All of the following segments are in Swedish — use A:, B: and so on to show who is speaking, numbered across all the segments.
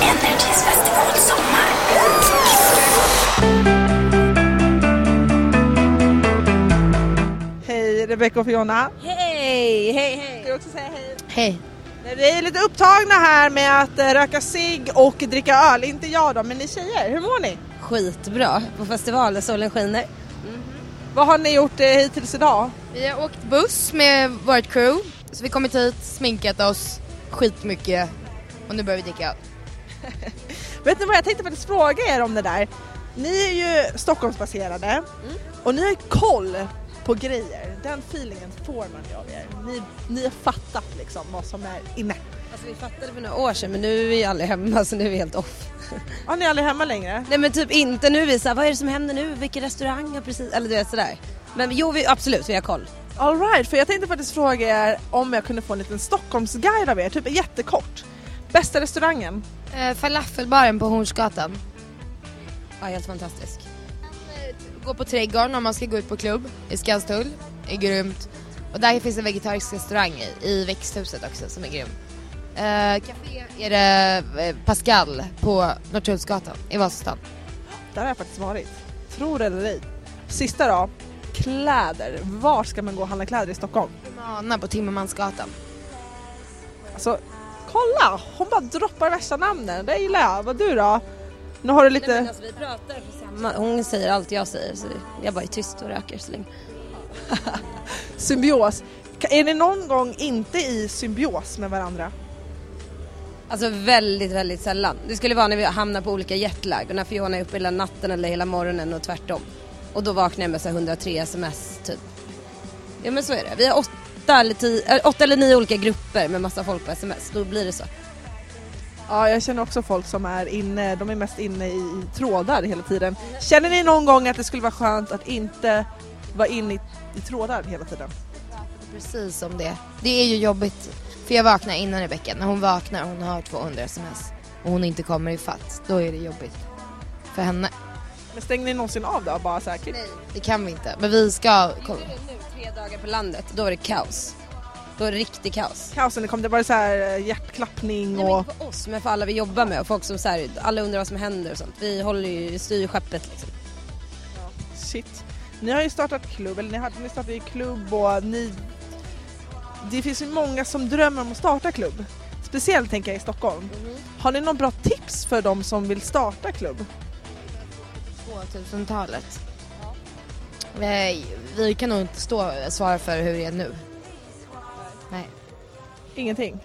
A: Energys festival sommar.
B: Hej Rebecca och Fiona.
C: Hej, hej, hej.
B: Ska du också säga hej?
C: Hej.
B: Nej, Vi är lite upptagna här med att eh, röka cigg och dricka öl. Inte jag då, men ni tjejer, hur mår ni?
C: Skitbra på festivalen, solen skiner.
B: Vad har ni gjort eh, hittills idag?
D: Vi har åkt buss med vårt crew, så vi kommit hit, sminkat oss skitmycket och nu börjar vi dricka öl.
B: Vet ni vad, jag tänkte faktiskt fråga er om det där. Ni är ju Stockholmsbaserade och ni har ju koll på grejer. Den feelingen får man ju av er. Ni, ni har fattat liksom vad som är inne.
C: Alltså vi fattade för några år sedan men nu är vi aldrig hemma så nu är vi helt off.
B: Ja, ni är aldrig hemma längre?
C: Nej men typ inte nu är vi såhär, vad är det som händer nu? Vilken restaurang har precis, eller du vet sådär. Men jo vi, absolut vi har koll.
B: All right, för jag tänkte faktiskt fråga er om jag kunde få en liten Stockholmsguide av er, typ jättekort. Bästa restaurangen?
D: Eh, falafelbaren på Hornsgatan.
C: Ja helt fantastisk.
D: Eh, Gå på Trädgården om man ska gå ut på klubb i Skanstull, är grymt. Och där finns en vegetarisk restaurang i, i växthuset också som är grym. Eh, café är det eh, Pascal på Norrtullsgatan i Vasastan.
B: Där har jag faktiskt varit. Tror det eller ej. Sista då. Kläder. Var ska man gå och handla kläder i Stockholm?
D: Humana på Timmermansgatan.
B: Alltså, kolla! Hon bara droppar värsta namnen. Det gillar jag. Vad du då? Nu har du lite...
C: Nej, men alltså, vi pratar för samma, hon säger allt jag säger så jag bara är tyst och röker så länge.
B: Symbios. Ka- Är ni någon gång inte i symbios med varandra?
C: Alltså väldigt, väldigt sällan. Det skulle vara när vi hamnar på olika jetlag och när Fiona är uppe hela natten eller hela morgonen och tvärtom. Och då vaknar jag med så här 103 sms typ. Ja men så är det. Vi har åtta eller, tio, äh, åtta eller nio olika grupper med massa folk på sms. Då blir det så.
B: Ja, jag känner också folk som är inne, de är mest inne i, i trådar hela tiden. Känner ni någon gång att det skulle vara skönt att inte vara inne i, i trådar hela tiden?
D: Precis om det. Det är ju jobbigt. För jag vaknar innan Rebecka. När hon vaknar hon har 200 sms och hon inte kommer i fatt, då är det jobbigt. För henne.
B: Men stänger ni någonsin av då? Bara så här, klipp.
D: Det kan vi inte. Men vi ska kolla.
C: Nu tre dagar på landet, då var det kaos. Då var det riktigt kaos.
B: Kaosen, det kom det bara så här eh, hjärtklappning
C: Nej,
B: och...
C: men inte för oss men för alla vi jobbar med och folk som så här, alla undrar vad som händer och sånt. Vi håller ju, styr skeppet liksom.
B: Shit. Ni har ju startat klubb, eller ni, har, ni startade ju klubb och ni... Det finns ju många som drömmer om att starta klubb. Speciellt tänker jag i Stockholm.
C: Mm-hmm.
B: Har ni någon bra tips för de som vill starta klubb?
D: 2000-talet. Nej, Vi kan nog inte stå svara för hur det är nu. Nej.
B: Ingenting?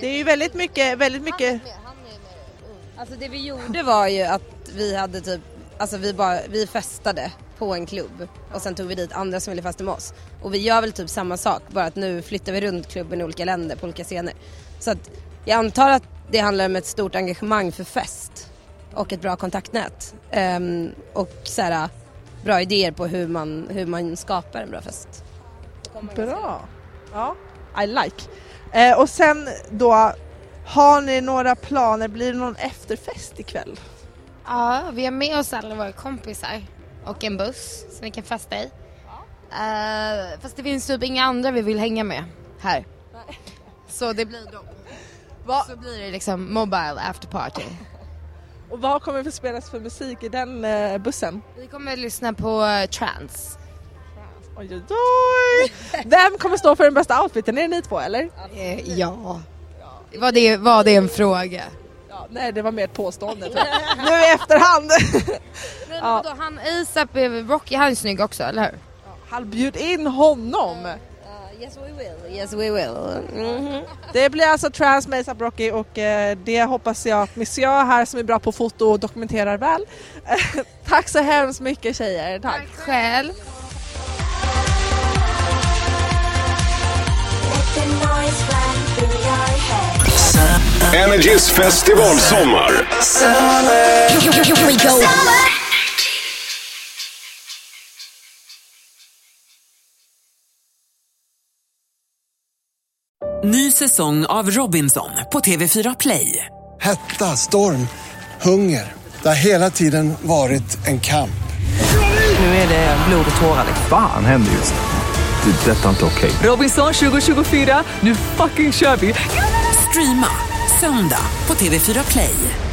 B: Det är ju väldigt mycket, väldigt mycket...
C: Alltså det vi gjorde var ju att vi hade typ, alltså vi bara, vi festade på en klubb och sen tog vi dit andra som ville festa med oss. Och vi gör väl typ samma sak bara att nu flyttar vi runt klubben i olika länder på olika scener. Så att jag antar att det handlar om ett stort engagemang för fest och ett bra kontaktnät. Ehm, och så här, bra idéer på hur man, hur man skapar en bra fest.
B: Bra! Ja, I like. Eh, och sen då, har ni några planer? Blir det någon efterfest ikväll?
D: Ja, vi har med oss alla våra kompisar och en buss som vi kan festa i. Eh, fast det finns typ inga andra vi vill hänga med här. Så det blir dem. Så blir det liksom mobile after party.
B: Och vad kommer för spelas för musik i den eh, bussen?
D: Vi kommer att lyssna på eh, trance.
B: Oj, oj, oj. Vem kommer stå för den bästa outfiten? Är det ni två eller?
D: Eh, ja. Var det, var det en fråga?
B: Ja, nej, det var mer ett påstående. tror jag. nu i efterhand.
D: Nej,
B: Ja.
D: men då, han ASAP är väl Rocky, han är snygg också, eller hur?
B: Han bjud in honom.
C: yes we will, yes we will. Mm.
B: Det blir alltså Trans med ASAP Rocky och eh, det hoppas jag att Miss Jag här som är bra på foto och dokumenterar väl. Tack så hemskt mycket tjejer. Tack.
D: Själv.
A: Let the noise run through your head.
E: Energys festivalsommar.
F: Ny säsong av Robinson på TV4 Play.
G: Hetta, storm, hunger. Det har hela tiden varit en kamp.
F: Nu är det blod och tårar.
H: Fan händer just nu. Det. är Detta är inte okej.
F: Robinson 2024, nu fucking kör vi! Streama söndag på TV4 Play.